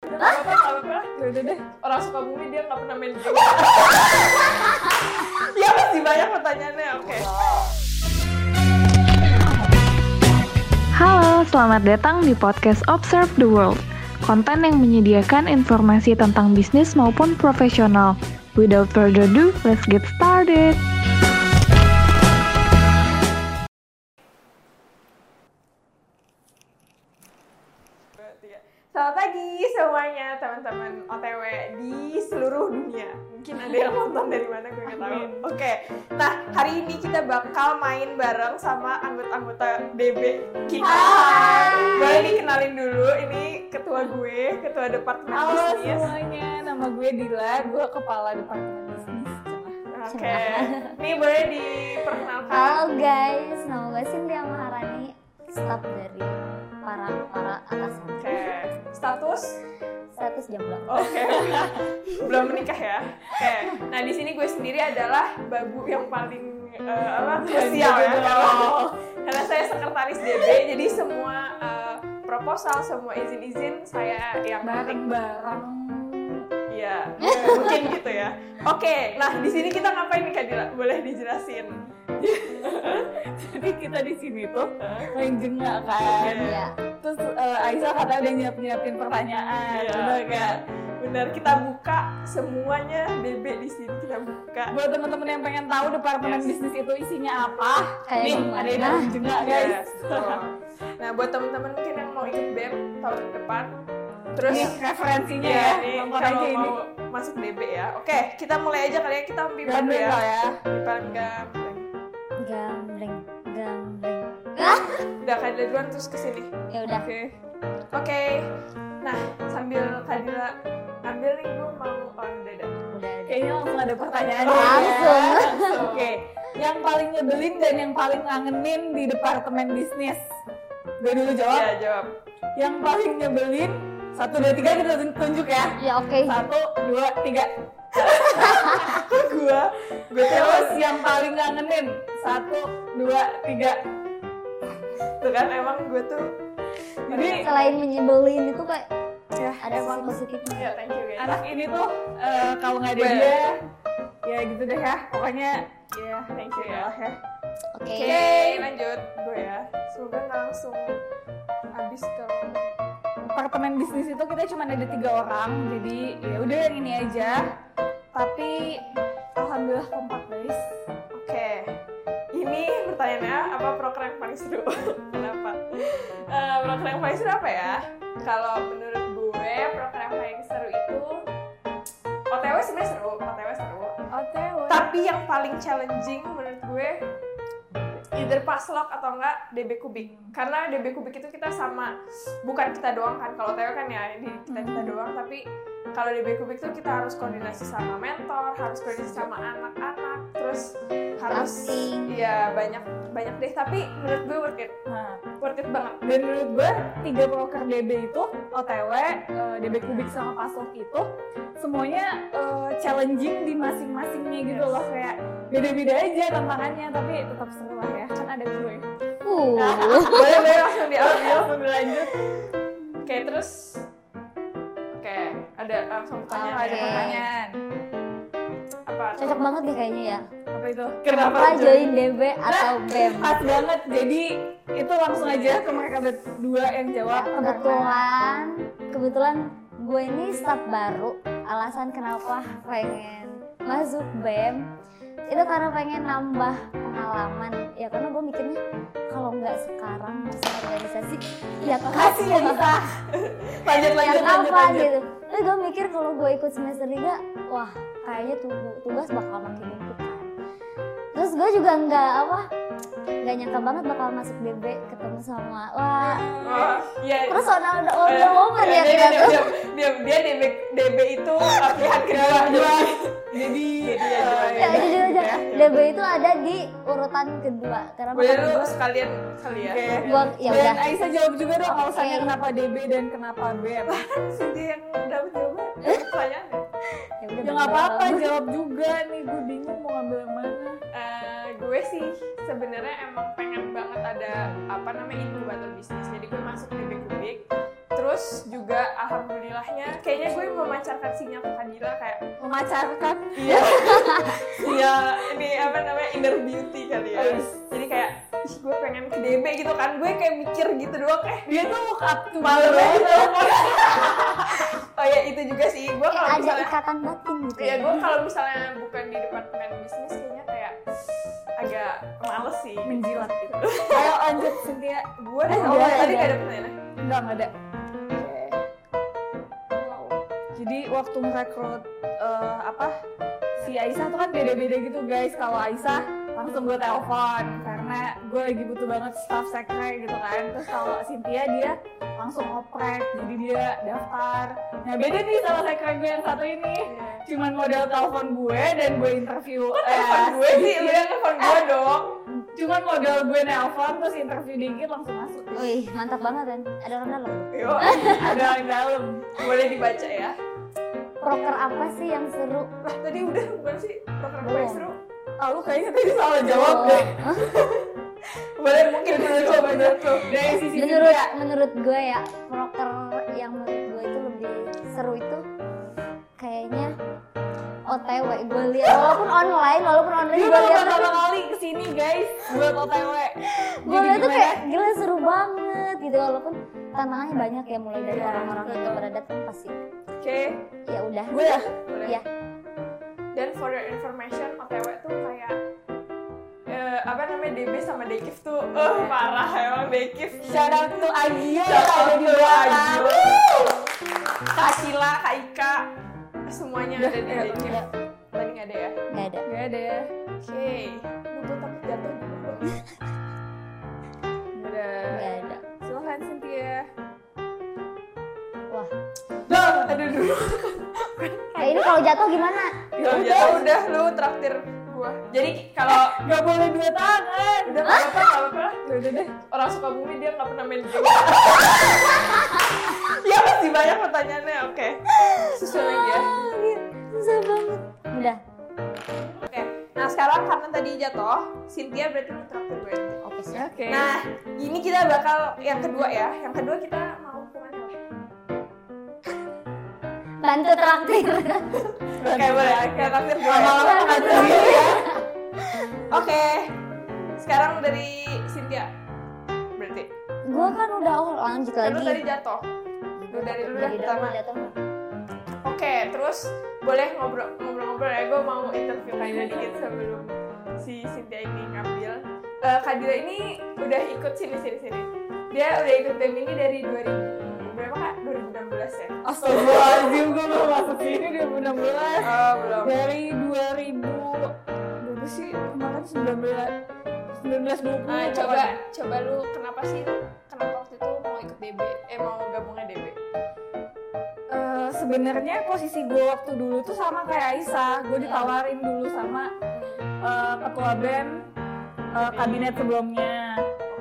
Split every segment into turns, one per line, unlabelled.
udah nggak apa-apa nggak apa-apa
Yaudah deh.
orang suka bumi dia nggak pernah main game
Ya masih banyak pertanyaannya. Oke.
Halo, selamat datang di podcast Observe the World. Konten yang menyediakan informasi tentang bisnis maupun profesional. Without further ado, let's get started.
Berarti ya. Selamat pagi semuanya teman-teman OTW di seluruh dunia. Mungkin ada yang nonton dari mana gue nggak tahu.
Amin.
Oke, nah hari ini kita bakal main bareng sama anggota-anggota DB kita. Boleh dikenalin dulu. Ini ketua gue, ketua departemen
Halo
bisnis.
semuanya, nama gue Dila, gue kepala departemen bisnis.
Oke, ini boleh diperkenalkan.
Halo guys, nama gue Cynthia Maharani, staff dari para para atasan.
Oke, status
Status jomblo.
Oke. Belum menikah ya. Oke. Nah, di sini gue sendiri adalah babu yang paling eh, apa krusial ya. Kalau karena saya sekretaris DB, jadi semua eh, proposal, semua izin-izin saya yang penting.
Barang-barang.
Iya, mungkin gitu ya. Oke, nah di sini kita ngapain nih Kak Dila? Boleh dijelasin?
Jadi kita di sini tuh main jengak kan.
Iya.
Terus eh, Aisyah kata udah nyiap-nyiapin pertanyaan.
Iya.
Bener nggak?
Benar, kita buka semuanya DB di sini kita buka.
Buat teman-teman yang pengen tahu departemen
Yes.
bisnis itu isinya apa,
Kayak
nih
gimana?
ada yang dalam jengak guys.
Yes, betul. nah, buat teman-teman mungkin yang mau ikut BEM tahun depan, terus
Nih referensinya
Iya,
ya,
nih,
nonton
kalau
aja ini.
mau masuk DB ya. Oke, kita mulai aja kali ya. Kita pipa
Jangan
dulu ya.
lupa ya.
Pipa enggak.
Gambling, gambling.
Udah Kadila duluan terus ke sini.
Ya udah.
Oke. Oke. Nah, sambil Kadila ambil nih gue mau on dada.
Udah.
Kayaknya langsung ada pertanyaan
Oh,
ya.
langsung.
Oke. Yang paling nyebelin dan yang paling ngangenin di departemen bisnis. Gue dulu
Iya,
jawab.
jawab.
Yang paling nyebelin satu dua tiga kita tun- tunjuk ya.
Ya oke.
Satu dua tiga.
Gua gue
Terus
terus
yang paling ngangenin satu dua tiga.
tuh kan emang gue tuh jadi
Selain menyebelin itu kayak
ya
ada sisi positifnya.
ya thank you guys.
Anak ini tuh eh, kalau nggak ada
Well.
dia ya gitu deh ya. Pokoknya
Iya, thank you ya. Oke,
Oke.
lanjut gue ya. Semoga nggak langsung habis ke
departemen bisnis itu kita cuma ada tiga orang jadi ya udah yang ini aja tapi alhamdulillah kompak guys
Oke, ini pertanyaannya apa proker yang paling seru? Kenapa? Eh, proker yang paling seru apa ya? Kalau menurut gue proker yang paling seru itu OTW sebenarnya seru, OTW seru.
otw
Tapi yang paling challenging menurut gue either paslok atau enggak DB kubik karena DB kubik itu kita sama bukan kita doang kan kalau TW kan ya ini kita kita doang tapi kalau DB kubik tuh kita harus koordinasi sama mentor harus koordinasi sama anak-anak terus harus
Crafting.
iya banyak banyak deh tapi menurut gue worth it
nah
worth it banget
dan menurut gue tiga broker db itu otw eh, db kubik sama pasok itu semuanya eh, challenging di masing-masingnya gitu
Yes.
loh kayak beda-beda aja tantangannya tapi tetap seru lah ya kan ada gue
Uh.
boleh boleh langsung diambil
langsung lanjut
oke terus oke ada langsung tanya
Oke.
ada pertanyaan apa
Cocok banget nih kayaknya ya.
apa itu
kenapa
Apa join DB atau BEM?
pas banget jadi itu langsung aja ke mereka berdua yang jawab
Kebetulan, kebetulan gue ini staff baru. Alasan kenapa pengen masuk BEM itu karena pengen nambah pengalaman. Ya karena gue mikirnya kalau nggak sekarang masuk organisasi, ya
kasih ya kita lanjut
ya
lanjut lanjut
kapan
lanjut
gitu. Tapi gue mikir kalau gue ikut semester 3, wah kayaknya tugu- tugas bakal makin numpuk kan. Terus gue juga nggak apa, nggak nyangka banget bakal masuk DB ketemu sama wah
Oh, iya
terus soalnya udah udah woman ya
Eh, dia,
ternyata.
dia, dia, dia DB, DB itu uh, pilihan
Iya,
kedua
Kedua.
jadi
jadi
Ya,
eh,
jujur aja. DB itu ada di urutan kedua karena
boleh
menurut
lu
gua-
sekalian kali ya
Oke.
gua ya
dan
udah Iya.
Aisyah jawab juga dong alasannya
Oke.
kenapa DB dan kenapa BEM
si dia yang dapat jawaban dapat pertanyaannya
ya udah
ya
bang,
nggak apa-apa
bang.
jawab juga nih gue bingung mau ngambil yang mana
Eh, gue sih sebenarnya emang pengen banget ada apa namanya inkubator bisnis jadi gue masuk DB Kubik terus terus juga alhamdulillahnya kayaknya gue memancarkan sinyal ke Kadila kayak
Memacarkan
iya iya ini apa namanya inner beauty kali ya
Yes.
jadi kayak ih gue pengen ke DB gitu kan gue kayak mikir gitu doang eh
dia tuh look up to
malu
me
banget
banget.
oh ya itu juga sih gue
Kayak
kalau
ada
misalnya
ikatan batin gitu
ya gue kalau misalnya bukan di departemen bisnis kayaknya kayak agak males sih
menjilat gitu. Ayo lanjut Cynthia.
gue
Eh,
oh,
ada,
tadi
ada.
gak ada pertanyaan
Enggak, enggak ada. Jadi waktu merekrut eh, apa si Aisyah tuh kan beda-beda gitu guys. Kalau Aisyah langsung gue telepon karena gue lagi butuh banget staff sekre gitu kan. Terus kalau Cynthia dia langsung oprek, jadi dia daftar. Nah beda nih sama sekre gue yang satu ini. Cuman modal telepon gue dan gue interview.
telepon
eh,
gue sih lu
Cynthia. Eh,
yang telepon gue dong
Cuman modal gue nelpon terus interview dikit langsung masuk.
Wih, mantap banget kan. Ada orang dalam.
yo ada yang dalam boleh dibaca ya
Proker apa sih yang seru?
lah tadi udah bukan sih program gue
Belum.
seru
Ah, lu kayaknya tadi salah jawab
Oh,
deh.
boleh mungkin dulu
Menurut lu,
bener
menurut lu. Dari sisi
menurut
Cynthia.
menurut gue ya, proker yang menurut gue itu lebih seru itu kayaknya OTW gue lihat walaupun online walaupun online
Ini
gue
baru
lihat
pertama kali kesini guys buat OTW.
gue lihat tuh kayak gila seru banget gitu walaupun tantangannya banyak ya mulai dari
Iya,
orang-orang yang
betul.
berada kan pasti
oke
ya udah
gue ya.
boleh
Iya.
dan for your information OTW tuh kayak eh, apa namanya DB sama Dekif tuh eh, parah emang Dekif
Shout out to Agio yang
Shout out
ada di kan?
to
belakang.
Agio. Kak Sila, Kak Ika semuanya
Udah,
ada di
iya,
Dekif
udah.
tadi nggak ada ya
nggak ada
Gak ada ya.
oke Lu gue takut jatuh
nggak ada
silahkan Cynthia
wah
dong aduh dulu
nah, ini kalau jatuh gimana
ya udah udah lu traktir gua jadi kalau
Gak boleh dua tangan.
udah nggak apa nggak apa
Ya Udah deh.
orang suka bumi dia nggak pernah main game ya masih banyak pertanyaannya oke sesuai lagi ya
Ah, gitu. susah banget udah
oke nah sekarang karena tadi jatuh Cynthia berarti lu traktir gue
oke sih
Oke.
nah ini kita bakal yang kedua ya yang kedua kita mau kemana
bantu traktir
oke boleh kita traktir gue
Lama-lama nggak sendiri ya.
oke sekarang dari Cynthia berarti
gue kan udah oh lanjut
kan lu tadi
lagi
jatuh lu dari dulu dah
Jadi
pertama.
jatuh
Oke, terus boleh ngobrol ngobrol-ngobrol ya. Gue mau interview Kadila dikit sebelum si Cynthia ini ngambil. Eh, Kadila ini udah ikut sini sini sini. Dia udah ikut BEM ini dari 2000 berapa kak? 2016 ya?
Astagfirullahaladzim gue baru masuk sini 2016.
Oh, belum.
Dari 2000 berapa sih kemarin 19 19 20
Nah, coba coba lu kenapa sih kenapa waktu itu mau ikut DB? Eh mau gabungnya DB?
Eh, sebenarnya posisi gue waktu dulu tuh sama kayak Aisyah gue ditawarin dulu sama eh, ketua BEM eh, kabinet sebelumnya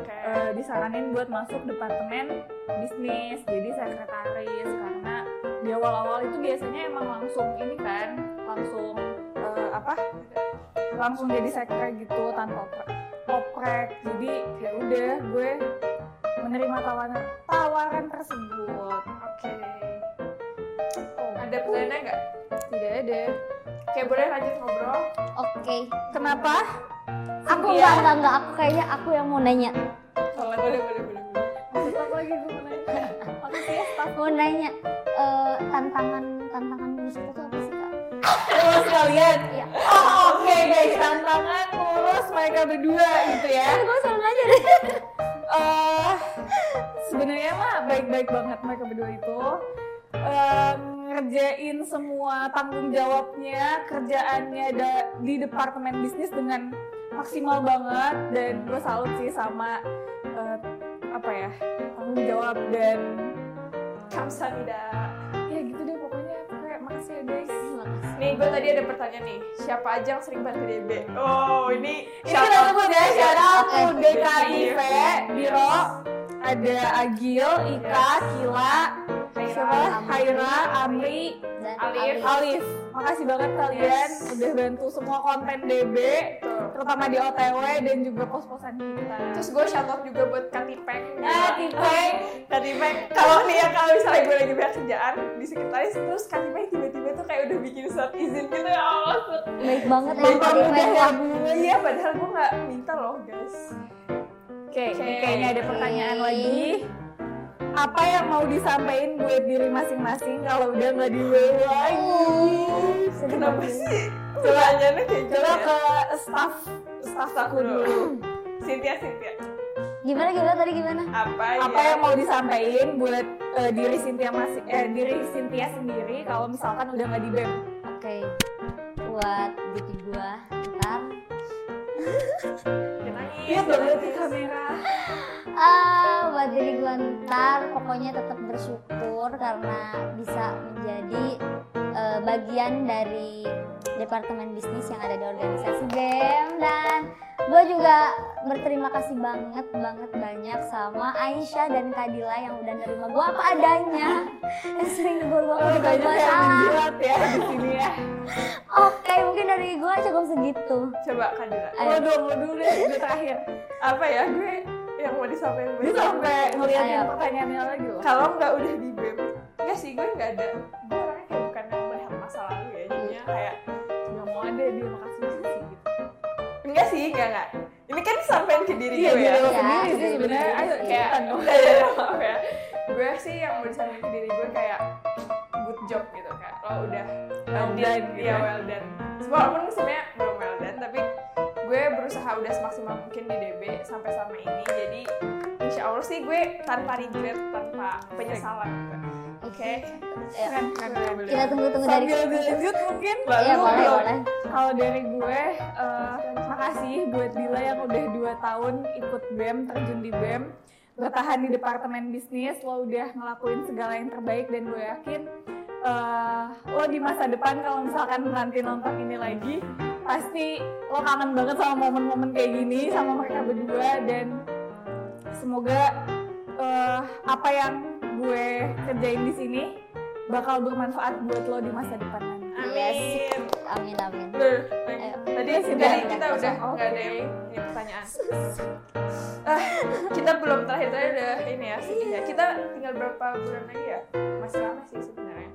Oke.
Eh, disaranin buat masuk departemen bisnis jadi sekretaris karena di awal-awal itu biasanya emang langsung ini kan langsung eh, apa langsung jadi sekre gitu tanpa opre- oprek jadi ya udah gue menerima tawaran tawaran tersebut
Oke. Ada pertanyaannya Oh. nggak?
tidak ada
Oke, boleh lanjut ngobrol.
oke
Kenapa?
aku
Iya.
nggak nggak nggak aku kayaknya aku yang mau nanya
Boleh, Oh, boleh, boleh, boleh.
lagi gue Makasih ya, staff.
mau nanya eh, tantangan tantangan musik itu apa sih kak
Terus kalian.
Iya.
Oh, oke guys, tantangan ngurus mereka berdua gitu ya.
gue selalu nanya deh
Eh, sebenarnya mah baik-baik banget mereka berdua itu. Eh, ngerjain semua tanggung jawabnya, kerjaannya da- di departemen bisnis dengan maksimal banget dan gue salut sih sama eh, apa ya tanggung jawab dan
Kamsahamnida.
ya gitu deh pokoknya kayak makasih ya guys.
Nih, gue tadi ada pertanyaan nih. Siapa aja yang sering bantu DB? Oh, ini Iya,
Ini kita sebut ya, shout out to
Eh.
Iya.
DKIV, Biro, ada Agil, Ika, Kila, siapa?
Amri,
Haira, Amri,
dan
Alif.
Alif.
Alif. Makasih banget kalian
Yes.
udah bantu semua konten DB, terutama di OTW dan juga pos-posan kita.
Terus gue shout out juga buat Katipeng.
Ah, Tipeng.
Katipeng. Kalau nih ya kalau misalnya gue lagi banyak kerjaan di sekretaris terus Katipeng tiba-tiba tuh kayak udah bikin surat izin gitu ya Allah. tuh.
Baik banget ya
Baik
tadi
banget
Fen.
ya gue ya padahal gue nggak minta loh guys.
Oke, ini
Oke.
kayaknya ada pertanyaan lagi. Apa yang mau disampaikan buat diri masing-masing kalau udah nggak di WW lagi?
Sedih
Kenapa
banget.
sih? Pertanyaannya kayak gitu.
Coba
ya?
ke staff staff aku dulu.
Cynthia, Cynthia.
Gimana gimana tadi gimana?
Apa, ya?
apa yang mau disampaikan buat eh, diri Cynthia masih eh, diri Cynthia sendiri kalau misalkan udah nggak di BEM
Oke. Buat diri gua ntar
Jangan nangis.
iya berarti kamera
Ah, buat diri gue ntar pokoknya tetap bersyukur karena bisa menjadi eh, bagian dari departemen bisnis yang ada di organisasi BEM dan gue juga berterima kasih banget banget banyak sama Aisyah dan Kadila yang udah nerima gue apa adanya yang sering gue
oh,
gue
banyak yang
salah
menjilat ya di sini ya
oke mungkin dari gue cukup segitu
Coba Oh, Kadira.
Ayo.
lo dong lo dulu deh gue terakhir
Apa ya gue yang mau disampaikan?
gue sampai ngeliatin
Ayo.
pertanyaannya lagi loh
kalau nggak udah di BEM ya sih gue nggak ada gue orangnya kayak bukan yang melihat masa lalu ya jadinya kayak
nggak mau ada dia makasih makasih gitu
enggak sih enggak enggak ini kan sampein ke diri
iya
gue
jadi
ya
lo
Iya,
sendiri sih
jadi
sebenarnya
diri
ayo
sendiri.
kayak
cepetan dong
udah ya maaf ya gue sih yang mau disampaikan ke diri gue kayak good job gitu kayak lo udah
Well
did-
done gitu
ya
ya.
well done walaupun sebenarnya belum well done tapi gue berusaha udah semaksimal mungkin di DB sampai selama ini jadi insya Allah sih gue tanpa regret tanpa penyesalan gitu. oke
Ayo.
Keren, keren, keren, keren.
kita tunggu tunggu dari
sambil dilanjut mungkin
Iya
Lalu
boleh
belum-
boleh
Kalau dari gue, eh, makasih buat Dila yang udah 2 tahun ikut BEM, terjun di BEM, bertahan di Departemen Bisnis, lo udah ngelakuin segala yang terbaik dan gue yakin eh, lo di masa depan kalau misalkan nanti nonton ini lagi, pasti lo kangen banget sama momen-momen kayak gini, sama mereka berdua, dan semoga eh, apa yang gue kerjain di sini bakal bermanfaat buat lo di masa depan nanti.
amin
amin amin
Bener.
Ayo.
Tadi
Guys,
tadi
udah,
kita
udah,
udah
udah.
nggak ada yang ini pertanyaan. Ah, kita belum terakhir terakhir udah ini ya sedih ya. Kita tinggal berapa bulan lagi ya? Masih lama sih sebenarnya.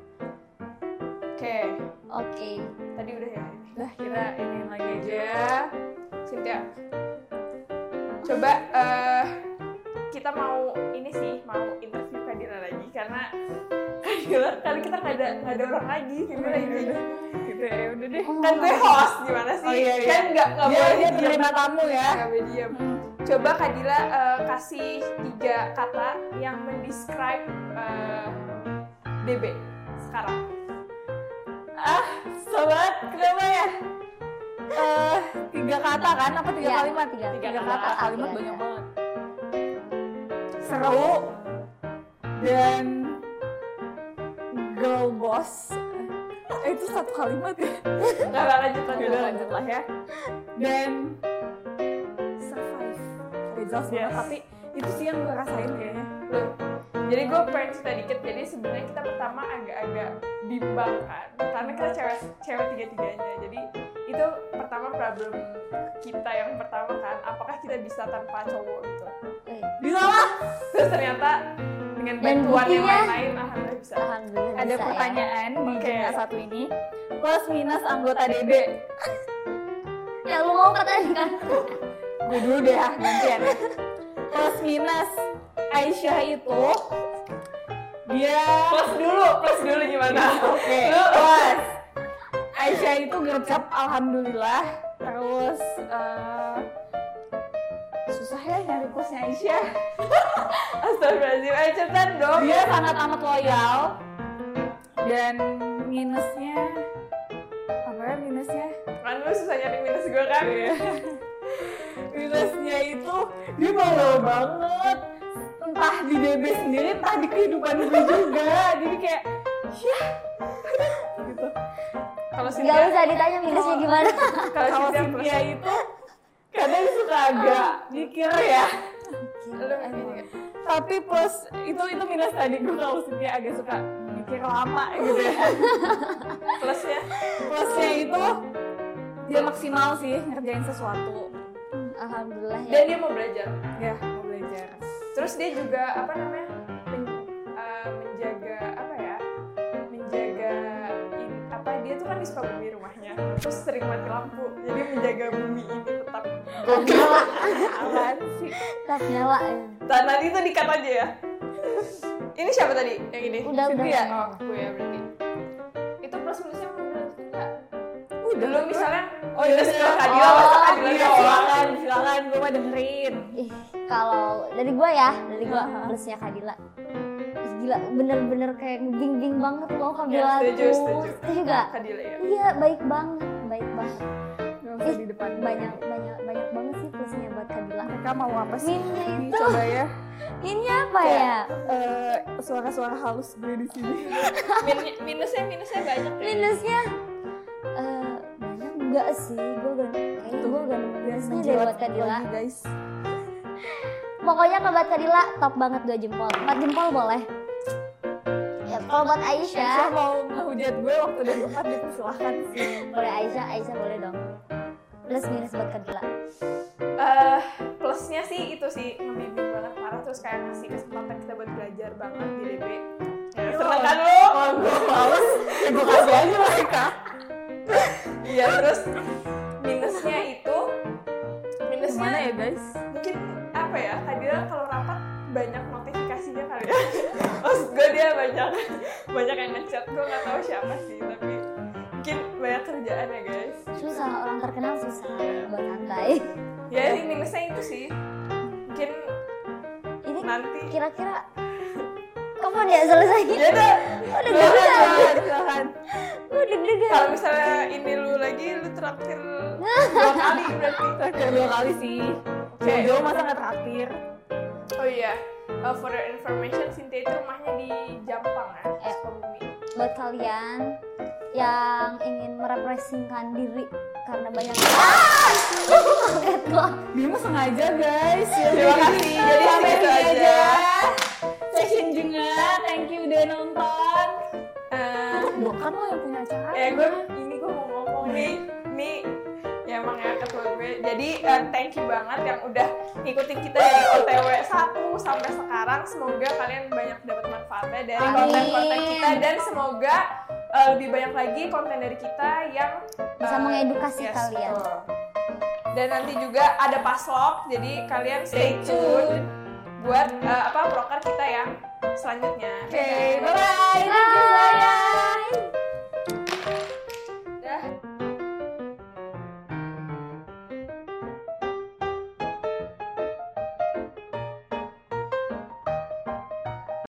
Oke,
oke
tadi udah ya.
Udah kita ini lagi aja.
Ya, Cynthia. Coba eh, kita mau ini sih mau interview Kadira lagi karena Kadira karena kita nggak ada nggak ada orang lagi Kadira lagi
Gitu ya, udah deh.
kan
Oh,
gue host gimana sih
Oh, iya, iya.
kan nggak nggak
Dia
boleh
dia
diem.
penerima tamu ya.
Nggak boleh diem. Coba Kadila eh, kasih tiga kata yang mendescribe eh, DB sekarang.
Ah, sobat, kenapa ya? Eh, tiga kata kan? Apa tiga
Iya,
kalimat?
tiga-
tiga
tiga
kata.
kata,
Kalimat
iya,
banyak
iya.
banget. Seru dan girl boss. Eh, itu satu kalimat ya.
Nggak nggak, lanjut lanjut.
Yaudah lanjut lah ya. Dan survive. Gak jelas banget,
Yes.
tapi itu sih yang gue rasain ya. kayaknya.
Loh, Jadi gue pengen cerita dikit. Jadi sebenarnya kita pertama agak-agak bimbang kan, karena kita cewek cewek tiga-tiganya. Jadi itu pertama problem kita yang pertama kan, apakah kita bisa tanpa cowok gitu.
Eh,
Bila lah.
Terus ternyata dengan
Dan
bantuan yang
buktinya-
lain-lain, alhamdulillah bisa.
alhamdulillah
ada
bisa ya.
pertanyaan di
Oke.
Jenga satu ini plus minus anggota DB
Ya lu mau pertanyaan
gue dulu deh ah, gantian ya. plus minus Aisyah itu dia
Plus dulu, plus dulu gimana?
oke
Lu-
plus Aisyah itu gercep alhamdulillah terus eh, susah ya nyari plusnya Aisyah
Astagfirullahaladzim, ayo ceritain dong.
dia
Iya.
sangat amat loyal dan minusnya apa ya minusnya
Kan lu susah nyari minus gue kan?
Iya.
minusnya itu dia bawel banget entah di DB sendiri entah di kehidupan gue juga jadi kayak ya gitu
Kalau
Gak
Cynthia,
usah ditanya minusnya gimana
kalau
kalau
Cynthia plus.
Cynthia itu kadang suka agak mikir ya
Lu ini nggak?
tapi plus itu itu minus tadi gue kalau sendiri agak suka mikir lama gitu ya
plusnya
plusnya itu dia maksimal sih ngerjain sesuatu
Alhamdulillah ya.
dan dia mau belajar
ya mau belajar
terus dia juga apa namanya men- eh, menjaga apa ya menjaga in- apa dia tuh kan di Sukabumi rumahnya terus sering mati lampu jadi menjaga bumi ini tetap
Tak nyala,
aman sih
tak nyala ya.
dan Nah, nanti itu dikat aja ya ini siapa tadi yang ini
Udah udah.
Cynthia.
oh gue ya berarti itu plus minusnya menurut kita
udah
dulu misalnya
oh iya
minus ke
iya.
Kadila
Oh,
masa Kadila
iya,
doang?
silakan silakan gue mah dengerin
Ih, kalau dari gua ya, dari gua
Aha.
plusnya Kadila. Ih, Gila, bener-bener kayak ngebing-bing banget loh
Ya,
Kadila
setuju,
tuh.
setuju.
Setuju nggak?
Kadila ya
Iya, baik banget, baik banget.
Gak usah di depan
Banyak banyak banyak banget sih plusnya buat Kadila.
mereka mau apa sih
Minnya
Ini
itu.
coba ya
Ini apa ya?
eh, suara-suara halus gue di sini
Min- minusnya minusnya banyak ya.
Minusnya eh, banyak enggak sih? Gua gak kayaknya gua gak nemu minusnya deh
Menjilat
buat Kadila.
lagi, guys
Pokoknya kalau buat Kadila top banget dua jempol. Empat jempol boleh. Ya, kalau buat
Aisyah
Aisyah,
mau ngehujat gue waktu dan tempat dipersilahkan sih
boleh Aisyah, Aisyah boleh dong. Plus minus buat Kadila.
eh plusnya sih itu sih ngebimbing banget parah terus kayak ngasih kesempatan kita buat belajar banget di DB ya, seneng kan lo
oh gue males ya gue kasih aja mereka
iya terus minusnya itu minusnya
gimana ya guys
mungkin apa ya tadi lah kalau rapat banyak notifikasinya kali ya maksud gue dia banyak banyak yang ngechat gue nggak tahu siapa sih tapi mungkin banyak kerjaan ya guys
susah orang terkenal susah buat santai
ya sih, minusnya itu sih mungkin
ini
nanti
kira-kira kapan ya selesai
ya udah
udah
silakan
deg-degan
silakan
udah deg-degan
kalau misalnya ini lu lagi lu traktir dua kali berarti
terakhir dua kali sih
Oke.
jauh-jauh masa nggak terakhir
oh iya Uh, for your information Sintia itu rumahnya di Jampang kan
Eh.
Sukabumi
buat kalian yang ingin merepresikan diri karena banyak kaget gua
Bimo sengaja guys Ya,
Terima
jadi-
kasih. Jadi
sampai
segitu
sini
aja.
Session juga Thank you udah nonton
Eh,
Bukan lo yang punya acara
eh gue ini gue mau ngomong nih nih ya emang ya ketua gue jadi eh, thank you banget yang udah ngikutin kita dari OTW 1 sampai sekarang semoga kalian banyak dapat manfaatnya dari
Amin.
konten-konten kita dan semoga eh, lebih banyak lagi konten dari kita yang
Bisa
eh,
mengedukasi kalian.
betul. dan nanti juga ada paslok jadi kalian stay tune buat eh, apa proker kita yang selanjutnya
Oke bye bye